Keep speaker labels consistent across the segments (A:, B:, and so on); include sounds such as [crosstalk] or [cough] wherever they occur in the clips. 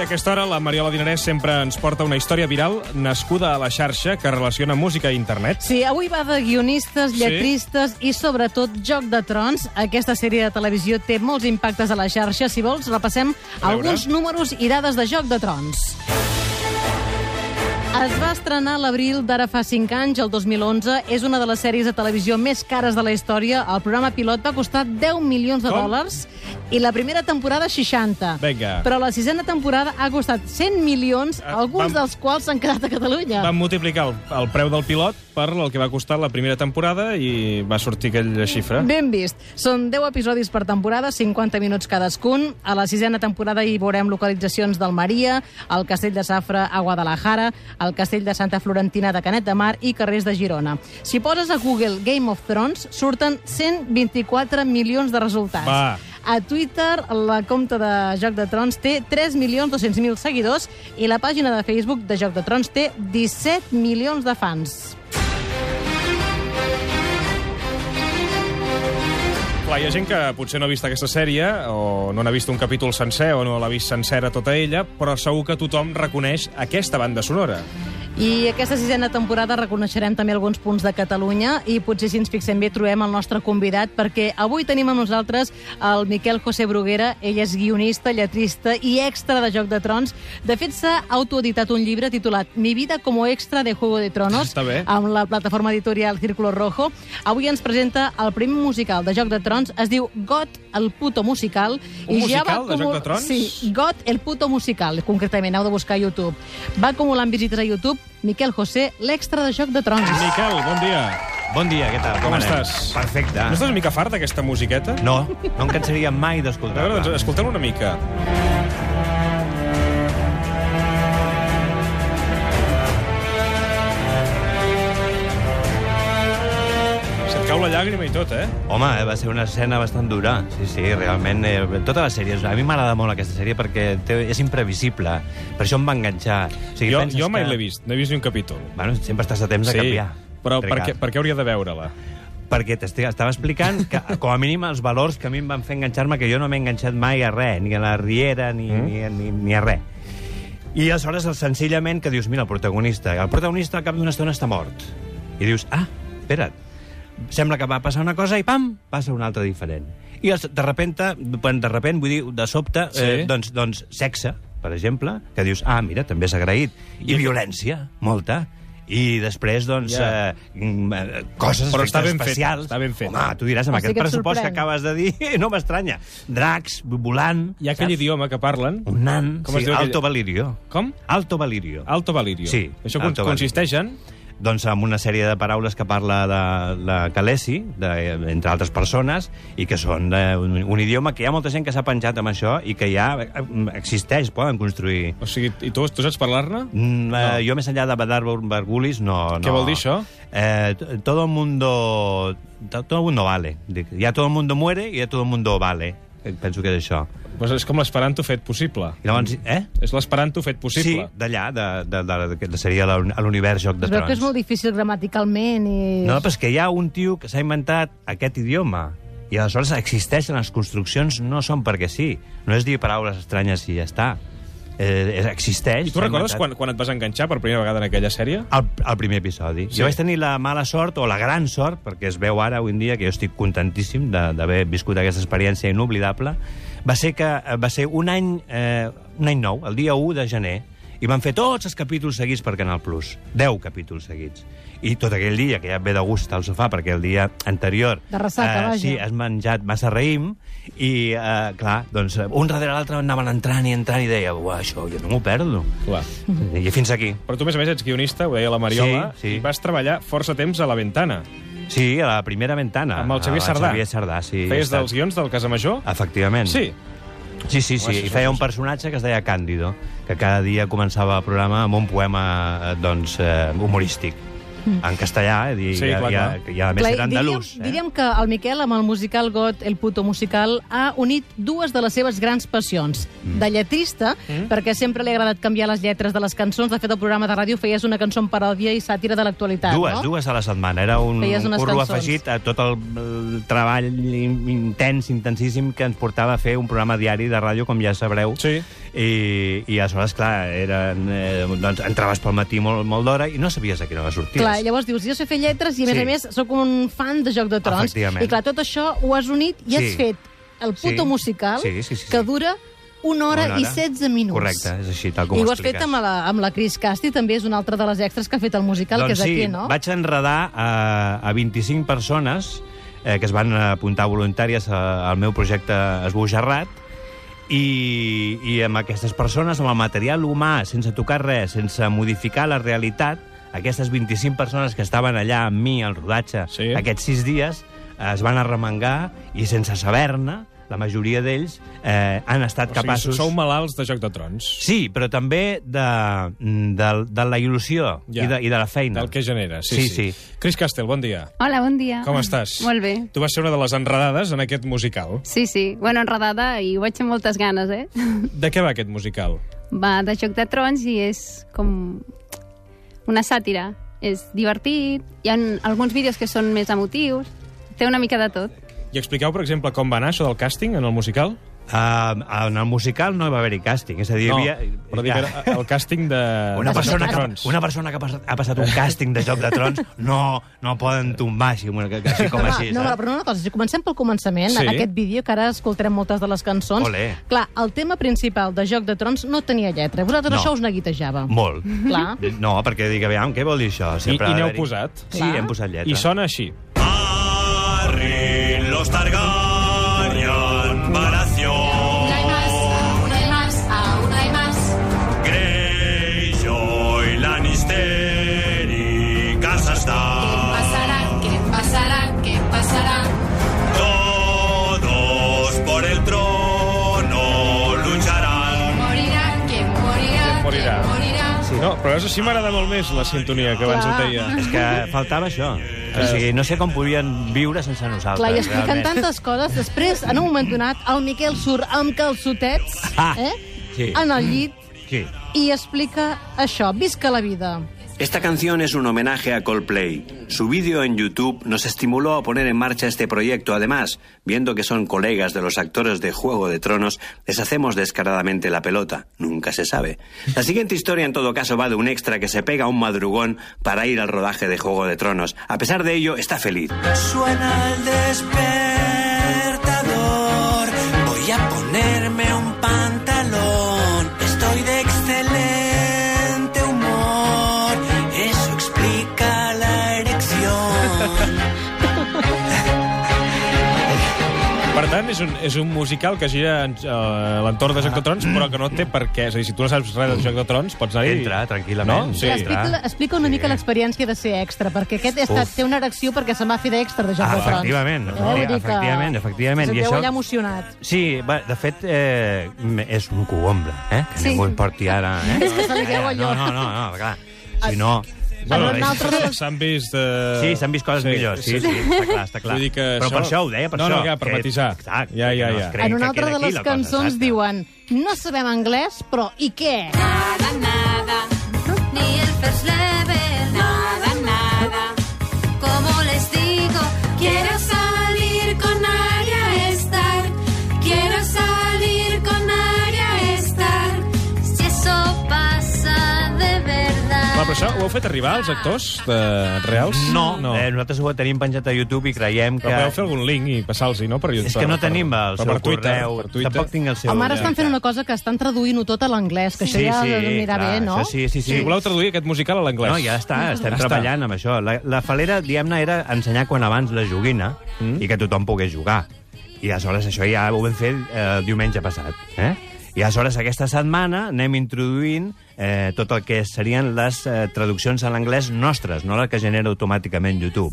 A: aquesta hora, la Mariola Dinarès sempre ens porta una història viral nascuda a la xarxa que relaciona música i internet.
B: Sí, avui va de guionistes, lletristes sí. i, sobretot, Joc de Trons. Aquesta sèrie de televisió té molts impactes a la xarxa. Si vols, repassem alguns números i dades de Joc de Trons. Es va estrenar a l'abril d'ara fa 5 anys, el 2011. És una de les sèries de televisió més cares de la història. El programa pilot va costar 10 milions de
A: Com?
B: dòlars i la primera temporada 60.
A: Vinga.
B: Però la sisena temporada ha costat 100 milions,
A: Ah,
B: alguns
A: vam-
B: dels quals s'han quedat a Catalunya.
A: Van multiplicar el, el preu del pilot per el que va costar la primera temporada i va sortir aquella xifra.
B: Ben vist. Són 10 episodis per temporada, 50 minuts cadascun. A la sisena temporada hi veurem localitzacions d'Almeria, el castell de Safra a Guadalajara, el castell de Santa Florentina de Canet de Mar i carrers de Girona. Si poses a Google Game of Thrones, surten 124 milions de resultats.
A: Va.
B: A Twitter, la compta de Joc de Trons té 3.200.000 seguidors i la pàgina de Facebook de Joc de Trons té 17 milions de fans.
A: Clar, hi ha gent que potser no ha vist aquesta sèrie, o no n'ha vist un capítol sencer, o no l'ha vist sencera tota ella, però segur que tothom reconeix aquesta banda sonora.
B: I aquesta sisena temporada reconeixerem també alguns punts de Catalunya i potser si ens fixem bé trobem el nostre convidat perquè avui tenim amb nosaltres el Miquel José Bruguera. Ell és guionista, lletrista i extra de Joc de Trons. De fet, s'ha autoeditat un llibre titulat Mi vida como extra de Juego de Tronos
A: Està bé.
B: amb la plataforma editorial Círculo Rojo. Avui ens presenta el primer musical de Joc de Trons. Es diu Got el puto musical.
A: Un
B: I ja va
A: musical de Joc de Trons?
B: Sí, Got el puto musical, concretament, heu de buscar a YouTube. Va acumulant visites a YouTube Miquel José, l'extra de Joc de Trons.
A: Miquel, bon dia.
C: Bon dia, què tal?
A: Com
C: anem?
A: estàs?
C: Perfecte.
A: No estàs una mica fart d'aquesta musiqueta?
C: No, no em cansaria mai
A: A veure, doncs,
C: d'escoltar-la.
A: escoltem una mica. Se't cau la llàgrima i tot, eh?
C: Home, eh, va ser una escena bastant dura. Sí, sí, realment. Eh, tota la sèrie. A mi m'agrada molt aquesta sèrie perquè té, és imprevisible. Per això em va enganxar. O sigui,
A: Jo,
C: penses
A: jo mai
C: que-
A: l'he vist, no he vist ni un capítol.
C: Bueno, sempre estàs a temps de canviar.
A: però per
C: Ricard.
A: què, per què hauria de veure-la?
C: perquè t'estava explicant que, com a mínim, els valors que a mi em van fer enganxar-me, que jo no m'he enganxat mai a res, ni a la Riera, ni, mm. ni, ni, ni a res. I aleshores, el- senzillament, que dius, mira, el protagonista, el protagonista al cap d'una estona està mort. I dius, ah, espera't, sembla que va passar una cosa i pam, passa una altra diferent. I els- de repente, quan de repente, vull dir, de sobte,
A: Sí.
C: eh, doncs, doncs sexe, per exemple, que dius, ah, mira, també és agraït. I, I violència, molta. I després, doncs,
A: Ja.
C: yeah. eh, mm, eh, coses
A: Però
C: efectes
A: està ben fet,
C: especials.
A: està ben fet.
C: Home, tu diràs, amb
B: O
C: o
B: sigui
C: aquest
B: que et
C: pressupost que
B: sorprèn.
C: acabes de dir, [laughs] no m'estranya. Dracs, volant...
A: Hi ha aquell
C: saps?
A: idioma que parlen...
C: Un nan...
A: Com es
C: sí,
A: diu aquell-
C: Alto Valirio.
A: Com?
C: Alto Valirio.
A: Alto Valirio.
C: Sí,
A: Això
C: Alto
A: Alto
C: Valirio.
A: consisteix en...
C: Doncs amb una sèrie de paraules que parla la, la Calesi, de, entre altres persones, i que són eh, un, un idioma que hi ha molta gent que s'ha penjat amb això i que ja eh, existeix, poden construir...
A: O sigui, i tu, tu saps parlar-ne?
C: Mm, eh,
A: No.
C: Jo, més enllà de Badar Bargulis, no, no...
A: Què vol dir això?
C: Eh, to- todo el mundo... to- Todo el mundo vale. Dic, Ja todo el mundo muere i ja todo el mundo vale. Eh, Penso que és això.
A: Pues és com l'esperanto fet possible.
C: I llavors, eh?
A: És l'esperanto fet Mm. possible.
C: Sí, d'allà, de, de, de, de, de, seria la- a l'univers Joc de
B: Es veu
C: Trons.
B: que és molt difícil gramaticalment i...
C: No, però és que hi ha un tio que s'ha inventat aquest idioma i aleshores existeixen les construccions, no són perquè sí. No és dir paraules estranyes i ja està. Eh,
A: I
C: existeix.
A: tu
C: s'ha
A: recordes
C: inventat.
A: quan, quan et vas enganxar per primera vegada en aquella sèrie?
C: El, el primer episodi.
A: Sí.
C: Sí. Jo vaig tenir la mala sort, o la gran sort, perquè es veu ara, avui en dia, que jo estic contentíssim de- d'haver viscut aquesta experiència inoblidable, va ser que eh, va ser un any, eh, un any nou, el dia 1 de gener, i van fer tots els capítols seguits per Canal Plus. 10 capítols seguits. I tot aquell dia, que ja et ve de gust al sofà, perquè el dia anterior... eh,
B: De ressaca, vaja.
C: Sí, has menjat massa raïm, i, eh, clar, doncs, un darrere l'altre anaven entrant i entrant, i deia, uah, això jo no m'ho perdo.
A: Clar.
B: Mm-hmm.
C: I fins aquí.
A: Però tu, a més a més, ets guionista, ho deia la Mariola,
C: Sí, sí.
A: i vas treballar força temps a La Ventana.
C: Sí, a la primera ventana.
A: Amb el Xavier
C: Amb
A: Sardà.
C: Ah, Xavier Sardà, sí.
A: Feies
C: Està-
A: dels guions del Casamajor?
C: Efectivament.
A: Sí.
C: Sí, sí, sí.
A: Home, això
C: I
A: és
C: feia
A: una
C: un
A: cosa.
C: personatge que es deia Càndido, que cada dia començava el programa amb un poema, eh, doncs, eh, humorístic. en castellà, eh, dir,
A: Sí,
C: sí, clar,
A: clar,
C: hi, ha,
A: clar.
C: hi ha, a més, era andalús.
B: Mm. diríem, diríem que el Miquel, amb el musical Got El Puto Musical, ha unit dues de les seves grans passions. Mm. De lletrista, mm. perquè sempre li ha agradat canviar les lletres de les cançons. De fet, el programa de ràdio feies una cançó en paròdia i sàtira de l'actualitat,
C: Dues,
B: no?
C: dues a la setmana. Era un,
B: Feies
C: un
B: unes
C: curro
B: cançons.
C: afegit a tot el, el treball in- intens, intensíssim, que ens portava a fer un programa diari de ràdio, com ja sabreu.
A: Sí.
C: I, i aleshores, clar, eren, eh, doncs, entraves pel matí molt, molt d'hora i no sabies a quina hora sorties.
B: Clar, llavors dius, jo sé fer lletres i, a més
C: Sí.
B: a més, sóc un fan de Joc de Trons.
C: Efectivament.
B: I, clar, tot això ho has unit i
C: Sí.
B: has fet el puto
C: Sí.
B: musical
C: Sí, sí, sí, sí.
B: que dura una hora,
C: Una hora.
B: i 16 minuts.
C: Correcte, és així, tal com
B: I
C: ho
B: ho has fet
C: expliques.
B: amb la, amb la Cris Casti, també és una altra de les extras que ha fet el musical,
C: doncs
B: que és
C: sí,
B: aquí, no?
C: vaig enredar a, a 25 persones eh, que es van apuntar voluntàries a, al meu projecte Esbojarrat i, i amb aquestes persones, amb el material humà, sense tocar res, sense modificar la realitat, aquestes 25 persones que estaven allà amb mi al rodatge
A: Sí.
C: aquests sis dies eh, es van arremangar i sense saber-ne, la majoria d'ells eh, han estat capaços...
A: sou malalts de Joc de Trons.
C: Sí, però també de, de, de la il·lusió
A: Ja.
C: i, de, i de la feina.
A: Del que genera, sí,
C: Sí,
A: sí.
C: sí.
A: Cris Castel, bon dia.
D: Hola, bon dia.
A: Com estàs?
D: Ah, Molt bé.
A: Tu vas ser una de les enredades en aquest musical.
D: Sí, sí. Bueno, enredada i ho vaig amb moltes ganes, eh? [laughs]
A: De què va aquest musical?
D: Va de Joc de Trons i és com una sàtira. És divertit, hi ha alguns vídeos que són més emotius, té una mica de tot.
A: I expliqueu, per exemple, com va anar això del càsting en el musical?
C: Uh, en el musical no hi va haver-hi càsting, és a dir, hi havia...
A: però dic,
C: Ja.
A: el càsting de...
C: Una
A: de Joc
C: persona,
A: de
C: que,
A: Trons.
C: una persona que ha passat- ha passat un càsting de Joc de Trons no, no poden tombar així, així com
B: Home,
C: així.
B: Ah, no,
C: saps?
B: però una cosa, si comencem pel començament,
A: Sí.
B: sí. aquest vídeo, que ara escoltarem moltes de les cançons...
C: Olé.
B: Clar, el tema principal de Joc de Trons no tenia lletra. Vosaltres
C: No.
B: això us neguitejava.
C: Molt.
B: Clar.
C: No, perquè dic, aviam, què vol dir això?
A: I- i
C: ha
A: n'heu
C: d'haver-hi-
A: posat?
C: Sí,
B: Clar.
C: hem posat lletra.
A: I sona així.
E: Arrin los Targaryen, Baratheon,
F: Una hay más, aún hay más, aún hay más.
E: Greyjoy, Lannister y Casa
F: ¿Qué
E: Stark.
F: pasará? ¿Qué pasará? ¿Qué pasará?
E: Todos por el trono lucharán.
F: ¿Morirá? ¿Quién morirá?
A: ¿Quién morirá?
F: ¿Quién morirá?
A: No, però és així m'agrada molt més la sintonia que abans et deia.
C: És que faltava això. O sigui, no sé com podien viure sense nosaltres.
B: Clar, i expliquen
C: realment.
B: tantes coses. Després, en un moment donat, el Miquel surt amb calçotets
C: Ah,
B: eh?
C: sí.
B: en el llit
C: Sí.
B: i explica això, visca la vida.
G: Esta canción es un homenaje a Coldplay. Su vídeo en YouTube nos estimuló a poner en marcha este proyecto. Además, viendo que son colegas de los actores de Juego de Tronos, les hacemos descaradamente la pelota. Nunca se sabe. La siguiente historia, en todo caso, va de un extra que se pega a un madrugón para ir al rodaje de Juego de Tronos. A pesar de ello, está feliz.
H: Suena el despertador. Voy a ponerme un pantalón. Estoy de excelente humor. Eso explica la erección.
A: Per tant, és un, és un musical que gira en- a l'entorn de Joc de Trons, però que no té per què. És a dir, si tu no saps res de Joc de Trons, pots anar-hi...
C: Entra, tranquil·lament.
A: No?
B: Sí,
A: Sí.
C: Explica-
B: explica, explica una mica l'experiència de ser extra, perquè aquest ha estat,
C: Uf.
B: té una erecció perquè se m'ha fet d'extra de Joc
C: Ah,
B: de Trons.
C: efectivament,
B: Eh, vull dir que
C: efectivament, efectivament.
B: Se
C: I
B: senteu
C: això-
B: allà emocionat.
C: Sí, va, de fet, eh, m- és un cogombre, eh? Que
D: Sí.
C: ningú em porti ara,
B: [laughs]
C: eh?
B: És que se li veu allò.
C: No, no, no, no clar. Si no...
B: En
A: Bueno,
B: un altre-
A: S'han vist... eh,
C: Sí, s'han vist coses millors, sí, sí, està clar, està clar.
A: Vull dir que
C: Però
A: això-
C: per això ho deia, per
A: No,
C: això.
A: no, clar, per
C: que-
A: matisar.
C: Exacte.
A: Ja, ja,
C: que no
A: ja.
C: es cregui
B: En una
C: que
B: altra
C: queda
B: de
C: aquí
B: les
C: la cosa,
B: cançons
C: exacte.
B: diuen no sabem anglès, però i què?
F: Nada, nada, ni el first level, nada, nada. Como les digo, quiero salir con Arya Stark, quiero salir con Arya Stark. Si eso pasa de verdad.
A: Va, però això ho heu fet arribar als actors de... reals?
C: No, no.
A: no.
C: Eh, nosaltres ho tenim penjat a YouTube i creiem que...
A: Però podeu fer algun link i passar-los, no? Per,
C: És que no tenim el seu
A: però per Twitter,
C: correu.
A: Per Twitter.
C: Tampoc tinc el seu...
B: Home, ara estan fent una cosa que estan traduint-ho tot a l'anglès, que això
C: Sí,
B: ja
C: sí,
B: anirà
C: clar,
B: bé, no?
C: això Sí, sí, sí.
A: Si voleu traduir aquest musical a l'anglès.
C: No, ja està, estem
A: Ja està.
C: treballant amb això. La, la falera, diguem-ne, era ensenyar quan abans la joguina
A: Mm.
C: i que tothom pogués jugar. I aleshores això ja ho vam fer eh, diumenge passat. Eh? I aleshores aquesta setmana anem introduint eh, tot el que serien les eh, traduccions a l'anglès nostres, no la que genera automàticament YouTube.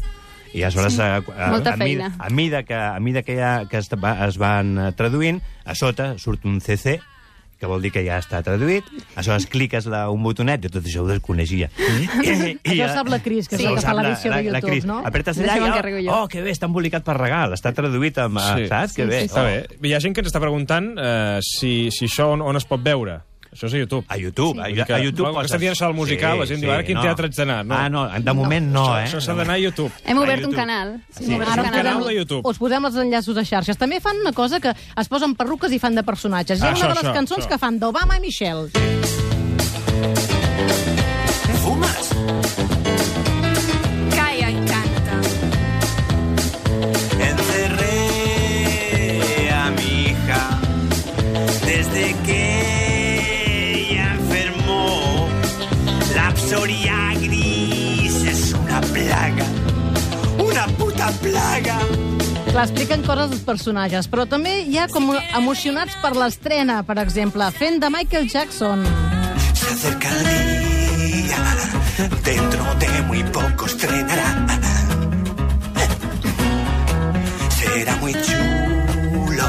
C: I aleshores, eh, sí. a, a,
D: molta
C: a, mida,
D: feina.
C: a eh, mida que, a mida que, ja, que es, va, es van eh, traduint, a sota surt un CC que vol dir que ja està traduït. Aleshores, cliques la, un botonet, jo tot això ho desconeixia. I,
B: Eh? Això ho sap la Cris, que és
C: Això
B: la
C: ho
B: que fa
C: sap
B: l'edició de YouTube, no?
C: Apretes
D: D'això
C: allà
D: m'encarrego
C: i,
D: jo.
C: oh, que bé, està embolicat per regal, està traduït amb...
A: Sí.
C: Sí. Ah, Saps? que bé. Oh,
A: Està bé. Hi ha gent que ens està preguntant eh, si, si això on, on es pot veure. Això és a YouTube.
C: A YouTube,
A: Vull
C: sí.
A: dir
C: a,
A: que-
C: a YouTube
A: no, que estem dient això del musical, la gent diu, ara quin teatre haig d'anar? No.
C: Ah, no, de moment no, eh?
A: Això s'ha d'anar a YouTube.
D: Hem
C: A
D: obert un
C: YouTube.
D: canal.
C: Sí.
D: Hem obert
A: És
B: Ara
A: un
D: un canal.
A: canal de YouTube.
B: us posem els enllaços a xarxes. També fan una cosa que es posen perruques i fan de personatges. Hi ha
A: Ah,
B: una
A: això,
B: de les
A: això,
B: cançons
A: això.
B: que fan d'Obama i Michelle.
H: ¿Fumas?
F: Calla y canta.
H: Encerré a mi hija desde que ella enfermó. La psoria gris es una plaga, una puta plaga.
B: Clar, expliquen coses dels personatges, però també hi ha com emocionats per l'estrena, per exemple, fent de Michael Jackson.
H: Se acerca el día, dentro de muy poco estrenará. Será muy chulo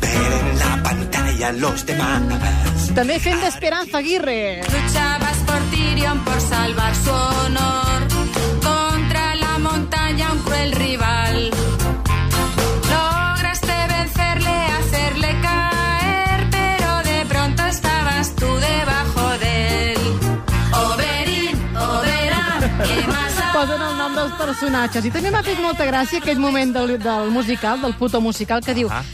H: ver en la pantalla a los demás.
B: També fent d'Esperanza Aguirre.
F: Luchabas por Tyrion por salvar su honor contra la montaña un cruel rival. Lograste vencerle, hacerle caer, pero de pronto estabas tú debajo de él. Oberyn, Oberá, ¿qué
C: [laughs]
F: más da?
B: Posen el nom dels personatges. I també m'ha fet molta gràcia aquell moment del, del musical, del puto musical, que diu
A: Ah.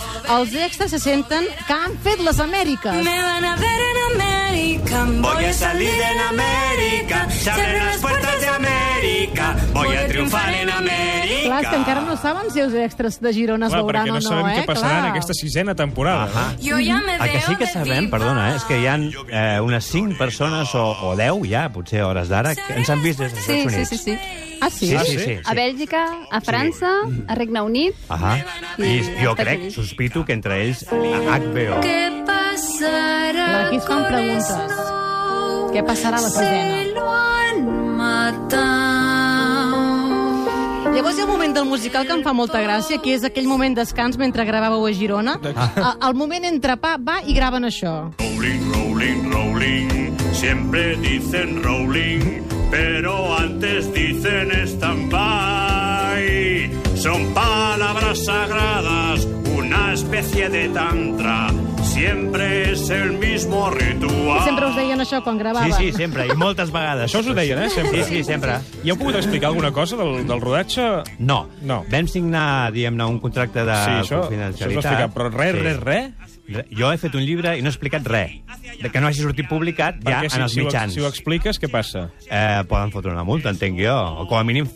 B: els extras se senten que han fet les Amèriques.
F: Me van a ver en América,
H: Voy a salir en América, se abren las puertas de América. Voy a triunfar en América.
B: Clar, és que encara no saben si els extras de Girona es
A: Clar, perquè
B: veuran
A: no
B: o no,
A: sabem
B: eh?
A: què passarà
B: Clar.
A: en aquesta sisena temporada. eh?
C: Ahà.
F: Yo ya me
C: El que sí que
F: de
C: sabem,
F: diva.
C: perdona, eh, és que hi ha eh, unes 5 persones o, o 10 ja, potser a hores d'ara, que ens han vist des dels
D: Sí,
C: Estats
D: sí,
C: Units.
D: sí, sí.
B: Ah, sí?
A: Ah,
C: sí,
A: sí?
C: sí, sí.
D: A Bèlgica, a França, a Regne Unit...
C: Ahà. I
D: Sí,
C: jo
D: als
C: crec,
D: Estats
C: sospito que entre ells a HBO.
F: ¿Qué pasará?
B: Aquí es fan
F: con
B: preguntes.
F: Snow?
B: Què passarà a la sisena?
F: Se lo han matado.
B: Llavors hi ha un moment del musical que em fa molta gràcia, que és aquell moment descans mentre gravàveu a Girona. Ah. El moment entre pa, va i graven això.
E: Rowling, Rowling, Rowling, siempre dicen Rowling, pero antes dicen stand-by. Son palabras sagradas, una especie de tantra, siempre es el mismo ritual.
B: Sempre us deien això quan
C: Sí,
B: gravaven.
C: sí, sempre, i moltes vegades.
A: Això us ho deien, eh, sempre.
C: Sí, sí, sempre.
A: I heu pogut explicar alguna cosa del, del rodatge?
C: No.
A: No.
C: Vam signar, diguem-ne, un contracte de
A: sí, això, això us ho he
C: Ah, confidencialitat.
A: explicat, però res,
C: Sí.
A: res, res.
C: Re- Jo he fet un llibre i no he explicat res. De que no hagi sortit publicat ja
A: Perquè si,
C: en els
A: si, ho,
C: mitjans.
A: si ho expliques, què passa?
C: eh, poden fotre una multa, entenc jo. O com a mínim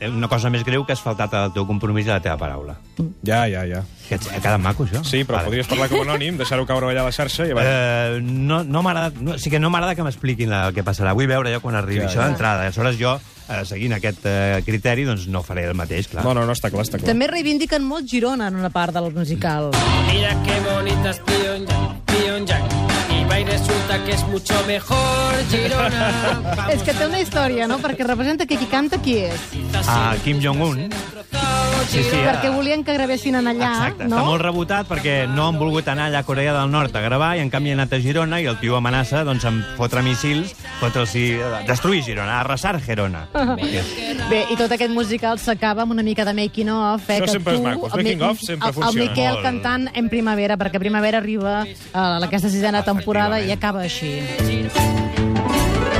C: eh, una cosa més greu que has faltat al teu compromís i a la teva paraula.
A: Ja, ja, ja.
C: Que ets- ha quedat maco, això.
A: Sí, però vale. podries parlar com a anònim, deixar-ho caure allà a la xarxa i abans...
C: Eh, no no m'agrada... No, sí que no m'agrada que m'expliquin la- el que passarà. Vull veure jo quan arribi
A: Ja,
C: això
A: ja.
C: d'entrada. Aleshores jo, eh, seguint aquest eh, criteri, doncs no faré el mateix, clar.
A: No, no, no, està clar, està clar.
B: També reivindiquen molt Girona en una part del musical.
I: Mira qué bonita es Pyongyang, Pyongyang. Iba y resulta que es mucho mejor Girona. Vamos
B: És que té una història, no? Perquè representa que qui canta qui és.
C: A Kim Jong-un. Sí, sí,
B: Perquè volien que gravessin en allà,
C: Exacte,
B: no?
C: està molt rebotat perquè no han volgut anar allà a Corea del Nord a gravar i en canvi han anat a Girona i el tio amenaça doncs, amb fotre missils contra els... eh, destruir Girona, arrasar Girona.
B: Bé, i tot aquest musical s'acaba amb una mica de making of, eh?
A: Això
B: que
A: sempre
B: tu,
A: és maco, els
B: el
A: making
B: Mi-
A: of sempre
B: el,
A: funcionen.
B: El Miquel
C: Molt.
B: cantant en primavera, perquè primavera arriba a aquesta sisena temporada i
C: Efectivament.
B: acaba així.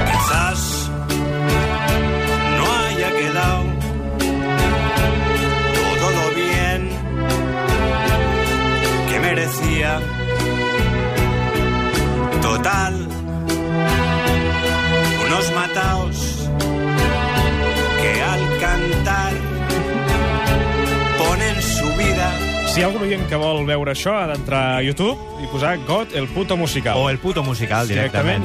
H: Quizás no haya quedado todo lo bien que merecía. Total, unos mataos que al cantar ponen su vida.
A: Si hi ha algun oient que vol veure això, ha d'entrar a YouTube i posar God el puto musical.
C: O el puto musical, directament.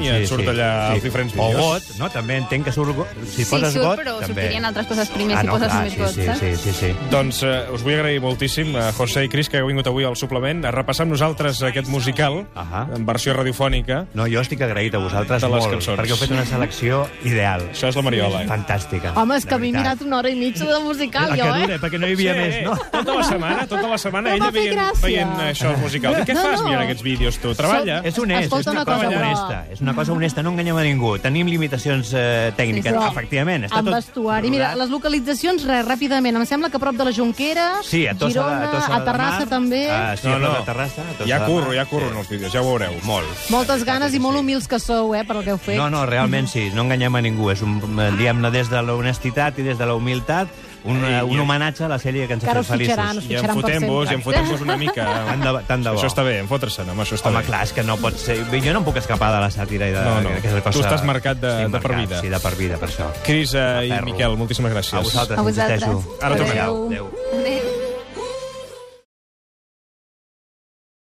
A: Directament, i et surt allà els diferents vídeos.
C: O got, no? També entenc que surt got. Si
D: Sí,
C: poses
D: surt,
C: got,
D: però
C: també.
D: sortirien altres coses primer
C: ah,
D: si
C: no,
D: poses
C: clar,
D: només
C: sí,
D: got,
C: sí,
D: saps?
C: sí, sí, sí.
A: Doncs eh, us vull agrair moltíssim a José i Cris que heu vingut avui al suplement a repassar amb nosaltres aquest musical
C: Ahà.
A: en versió radiofònica.
C: No, jo estic agraït a vosaltres
A: De les
C: molt,
A: cançons.
C: perquè heu fet una selecció ideal.
A: Això és la Mariola. Eh?
C: Fantàstica.
B: Home, és
C: de
B: que m'he
C: veritat.
B: mirat una hora i mitja de musical,
C: La
B: jo,
C: que
B: eh?
C: dura, perquè no hi havia més, no?
A: Tota la setmana, tota la setmana
J: Però
A: ella
J: m'ha fet
A: veient,
J: gràcia.
A: veient això els musicals. I què
J: No,
A: fas
J: no.
A: mirant aquests vídeos, tu? Treballa?
C: És honest,
B: Escolta
C: és una,
B: una cosa,
C: cosa
B: però-
C: honesta. És una cosa honesta, no enganyem a ningú. Tenim limitacions eh, tècniques,
B: Però
C: efectivament. Està
B: amb
C: tot
B: vestuari. Mira,
C: rodat.
B: les localitzacions, res, ràpidament. Em sembla que a prop de la Jonquera,
C: Sí, a Tossa,
B: Girona,
C: a, Tossa de
B: a Terrassa
C: Mar.
B: també.
C: Ah, sí,
A: No,
C: no,
A: no.
C: no. a Terrassa. A Tossa
A: Hi ha
C: de Mar.
A: curro, hi ha curro en els vídeos, ja ho veureu.
C: Molt.
B: Moltes ganes i molt humils que sou, eh, per el que heu fet.
C: No, no, realment sí, no enganyem a ningú. És un, eh, diguem-ne, des de l'honestitat i des de la humilitat, un, eh, un homenatge a la sèrie que ens ha
B: Encara
C: fet
B: us fitxaran,
C: feliços.
B: us
A: I en
B: fitxaran per
A: fotem-vos, i en
B: sempre.
A: fotem-vos una mica.
C: Tant de, tant de bo.
A: Això està bé, en fotre-se'n, home, això està
C: Home,
A: bé.
C: clar, és que no pot ser... Jo no em puc escapar de la sàtira i de...
A: No, no.
C: d'aquesta
A: Tu estàs marcat de-
C: Estic
A: de per
C: marcat,
A: vida.
C: Sí, de per vida, per això.
A: Cris eh, i
C: Ferro.
A: Miquel, moltísimes gràcies.
C: A vosaltres,
D: A
C: insisteixo.
D: vosaltres.
A: Ara tornem.
C: Adéu. Adéu.
D: Adéu.